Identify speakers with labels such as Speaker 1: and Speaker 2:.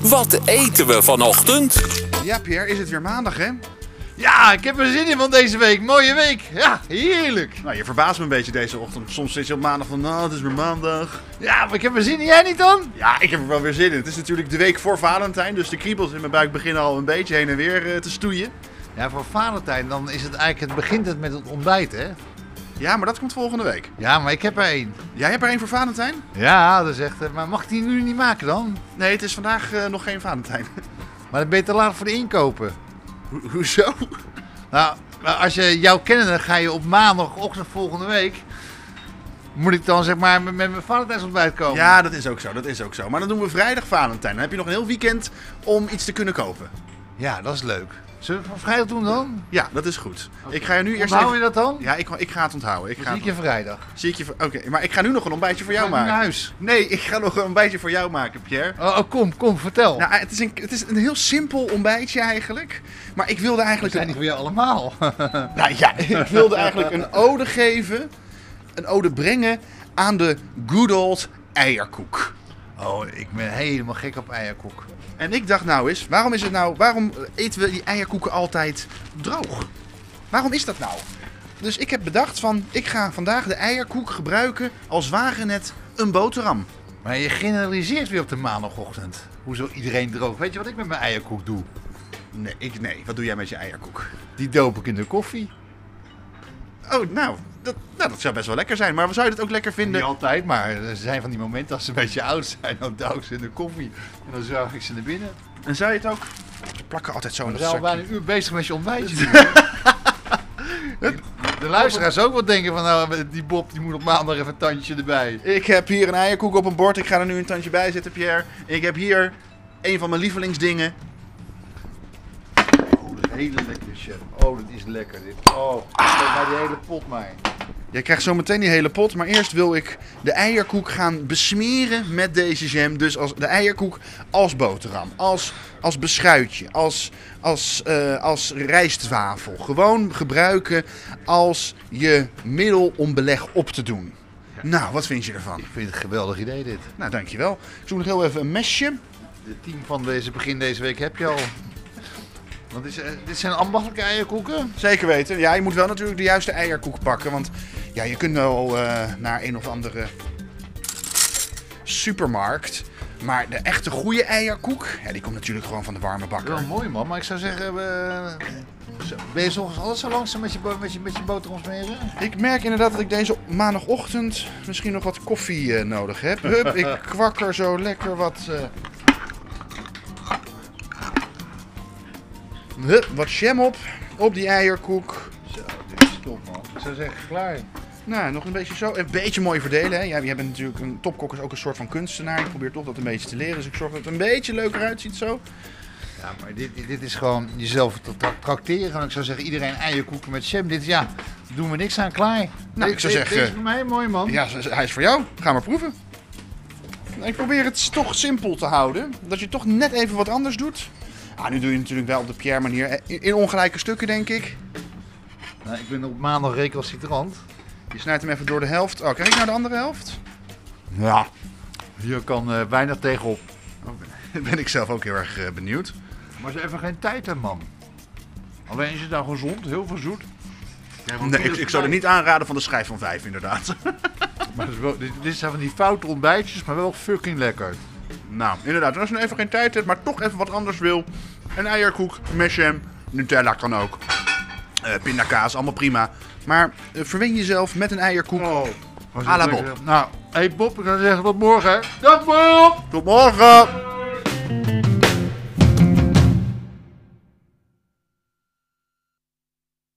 Speaker 1: Wat eten we vanochtend?
Speaker 2: Ja, Pierre, is het weer maandag, hè?
Speaker 3: Ja, ik heb er zin in van deze week. Mooie week. Ja, heerlijk.
Speaker 2: Nou, je verbaast me een beetje deze ochtend. Soms zit je op maandag van, nou, het is weer maandag.
Speaker 3: Ja, maar ik heb er zin in. Jij niet dan?
Speaker 2: Ja, ik heb er wel weer zin in. Het is natuurlijk de week voor Valentijn, dus de kriebels in mijn buik beginnen al een beetje heen en weer eh, te stoeien.
Speaker 3: Ja, voor Valentijn dan is het eigenlijk, het begint het met het ontbijt, hè?
Speaker 2: Ja, maar dat komt volgende week.
Speaker 3: Ja, maar ik heb er één.
Speaker 2: Jij hebt er één voor Valentijn?
Speaker 3: Ja, dat is echt, eh, maar mag ik die nu niet maken dan?
Speaker 2: Nee, het is vandaag eh, nog geen Valentijn.
Speaker 3: Maar dan ben je te laat voor de inkopen.
Speaker 2: Ho- hoezo?
Speaker 3: Nou, maar als je jou kennen, dan ga je op maandagochtend volgende week. Moet ik dan zeg maar met, met mijn Valentijnsontbijt komen?
Speaker 2: Ja, dat is ook zo, dat is ook zo. Maar dan doen we vrijdag Valentijn. Dan heb je nog een heel weekend om iets te kunnen kopen.
Speaker 3: Ja, dat is leuk. Zullen we het van vrijdag doen dan?
Speaker 2: Ja, dat is goed. Ik ga je nu eerst
Speaker 3: Onthoud
Speaker 2: even...
Speaker 3: je dat dan?
Speaker 2: Ja, ik, ik ga het onthouden. Ik
Speaker 3: Dan
Speaker 2: ga
Speaker 3: zie
Speaker 2: het
Speaker 3: ik je vrijdag.
Speaker 2: Zie ik je... Oké, maar ik ga nu nog een ontbijtje voor jou
Speaker 3: Ga ik nu
Speaker 2: maken.
Speaker 3: naar huis.
Speaker 2: Nee, ik ga nog een ontbijtje voor jou maken, Pierre.
Speaker 3: Oh, oh, kom, kom, vertel.
Speaker 2: Nou, het is, een, het is een heel simpel ontbijtje eigenlijk. Maar ik wilde
Speaker 3: we
Speaker 2: eigenlijk...
Speaker 3: zijn niet voor jou allemaal.
Speaker 2: Nou ja, ik wilde eigenlijk een ode geven. Een ode brengen aan de good old eierkoek.
Speaker 3: Oh, ik ben helemaal gek op eierkoek.
Speaker 2: En ik dacht nou eens, waarom is het nou... Waarom eten we die eierkoeken altijd droog? Waarom is dat nou? Dus ik heb bedacht van, ik ga vandaag de eierkoek gebruiken als waren het een boterham.
Speaker 3: Maar je generaliseert weer op de maandagochtend. Hoezo iedereen droog? Weet je wat ik met mijn eierkoek doe?
Speaker 2: Nee, ik, nee. Wat doe jij met je eierkoek?
Speaker 3: Die doop ik in de koffie.
Speaker 2: Oh, nou dat, nou, dat zou best wel lekker zijn. Maar zou je het ook lekker
Speaker 3: Niet
Speaker 2: vinden?
Speaker 3: altijd, maar er zijn van die momenten als ze een beetje oud zijn, dan douw ik ze in de koffie. En dan zuig ik ze naar binnen.
Speaker 2: En zou je het ook... Ze plakken altijd zo in
Speaker 3: We
Speaker 2: dat
Speaker 3: zijn al
Speaker 2: zakje.
Speaker 3: bijna een uur bezig met je ontbijtje. De luisteraars ook wel denken van nou, die Bob die moet op maandag even een tandje erbij.
Speaker 2: Ik heb hier een eierkoek op een bord. Ik ga er nu een tandje bij zetten, Pierre. Ik heb hier een van mijn lievelingsdingen.
Speaker 3: Oh, dat is hele lekker shit. Oh, dat is lekker dit. Oh, maar die hele pot mij.
Speaker 2: Jij krijgt zo meteen die hele pot. Maar eerst wil ik de eierkoek gaan besmeren met deze jam. Dus als, de eierkoek als boterham. Als, als beschuitje. Als, als, eh, als rijstwafel. Gewoon gebruiken als je middel om beleg op te doen. Nou, wat vind je ervan?
Speaker 3: Ik vind het een geweldig idee dit.
Speaker 2: Nou, dankjewel. Ik zoek nog heel even een mesje.
Speaker 3: De team van deze begin deze week heb je al. Want dit, is- eh, dit zijn ambachtelijke eierkoeken.
Speaker 2: Zeker weten. Ja, je moet wel natuurlijk de juiste eierkoek pakken. Want ja, je kunt wel eh, naar een of andere supermarkt. Maar de echte goede eierkoek, ja, die komt natuurlijk gewoon van de warme bakker.
Speaker 3: Wel mooi man, maar ik zou zeggen, we... zo, ben je soms alles zo langzaam met je, bo- met je, met je boterham smeren?
Speaker 2: Ik merk inderdaad dat ik deze maandagochtend misschien nog wat koffie eh, nodig heb. Hup, ik kwak er zo lekker wat... eh, Hup, wat jam op, op die eierkoek.
Speaker 3: Zo, dit is top man. Ik zou zeggen, klaar.
Speaker 2: Nou, nog een beetje zo. Een beetje mooi verdelen. Hè? Ja, je bent natuurlijk een topkok is ook een soort van kunstenaar. Ik probeer toch dat een beetje te leren. Dus ik zorg dat het een beetje leuker uitziet zo.
Speaker 3: Ja, maar dit, dit is gewoon jezelf te tra- tracteren. En ik zou zeggen, iedereen eierkoeken met jam. Dit, ja, doen we niks aan, klaar.
Speaker 2: Nou, ik zou
Speaker 3: dit-
Speaker 2: zeggen-
Speaker 3: Dit is voor mij mooi man.
Speaker 2: Ja, z- z- hij is voor jou. Ga maar proeven. Nou, Ik probeer het toch simpel te houden. Dat je toch net even wat anders doet. Ah, nu doe je het natuurlijk wel op de Pierre manier. eh, In, in ongelijke stukken, denk ik.
Speaker 3: Nou, ik ben op maandag recalcitrant.
Speaker 2: Je snijdt hem even door de helft. Oh, krijg ik nou de andere helft? Ja.
Speaker 3: Hier kan eh, weinig tegenop.
Speaker 2: Oh, Ben ik zelf ook heel erg eh, benieuwd.
Speaker 3: Maar ze hebben geen tijd hè man. Alleen is het nou gezond, heel veel zoet.
Speaker 2: Nee, ik, ik zou er niet aanraden van de schijf van vijf, inderdaad.
Speaker 3: Maar dat is wel- dit, dit zijn van die foute ontbijtjes, maar wel fucking lekker.
Speaker 2: Nou, inderdaad. En als je nou even geen tijd hebt, maar toch even wat anders wil. Een eierkoek, mesham, Nutella kan ook. Eh, pindakaas, allemaal prima. Maar eh, verwen jezelf met een eierkoek.
Speaker 3: Was
Speaker 2: À la
Speaker 3: het lekker? Nou, hey Bob, ik zou zeggen tot morgen. hè. Dag Bob!
Speaker 2: Tot morgen!